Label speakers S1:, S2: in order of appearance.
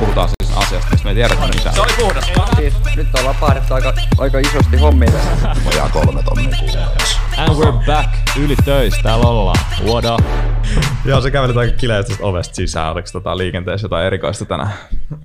S1: puhutaan siis asiasta, mistä me ei tiedetä mitään.
S2: Se oli puhdas.
S3: Siis, nyt ollaan paahdettu aika, aika isosti hommia tässä.
S4: Vajaa kolme tonnia kuukaudessa.
S1: And we're back. Yli töissä täällä ollaan. What up?
S5: Joo, se kävelit aika kileästi tuosta ovesta sisään. Oliko tota liikenteessä jotain erikoista tänään?